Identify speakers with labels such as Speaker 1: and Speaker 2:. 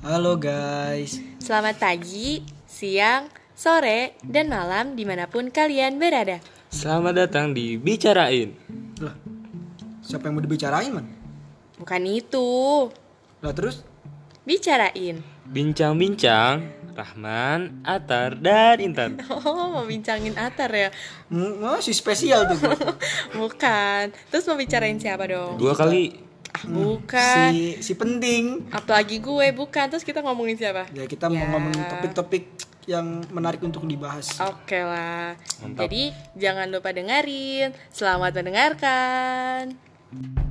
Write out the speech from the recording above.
Speaker 1: Halo guys,
Speaker 2: Selamat pagi, siang, sore, dan malam dimanapun kalian berada.
Speaker 3: Selamat datang di Bicarain.
Speaker 1: lah siapa yang mau dibicarain man?
Speaker 2: Bukan itu,
Speaker 1: Lah terus,
Speaker 2: bicarain.
Speaker 3: Bincang-bincang, Rahman, Atar, dan Intan.
Speaker 2: Oh, mau bincangin Atar ya?
Speaker 1: M- masih oh, spesial tuh gua.
Speaker 2: Bukan. Terus mau bicarain siapa dong?
Speaker 3: Dua kali
Speaker 2: Ah, bukan.
Speaker 1: si si penting.
Speaker 2: Apalagi gue, bukan. Terus kita ngomongin siapa?
Speaker 1: Ya kita
Speaker 2: Ya.
Speaker 1: mau ngomongin topik-topik yang menarik untuk dibahas.
Speaker 2: Oke lah.
Speaker 3: Mantap.
Speaker 2: Jadi, jangan lupa dengerin. Selamat mendengarkan.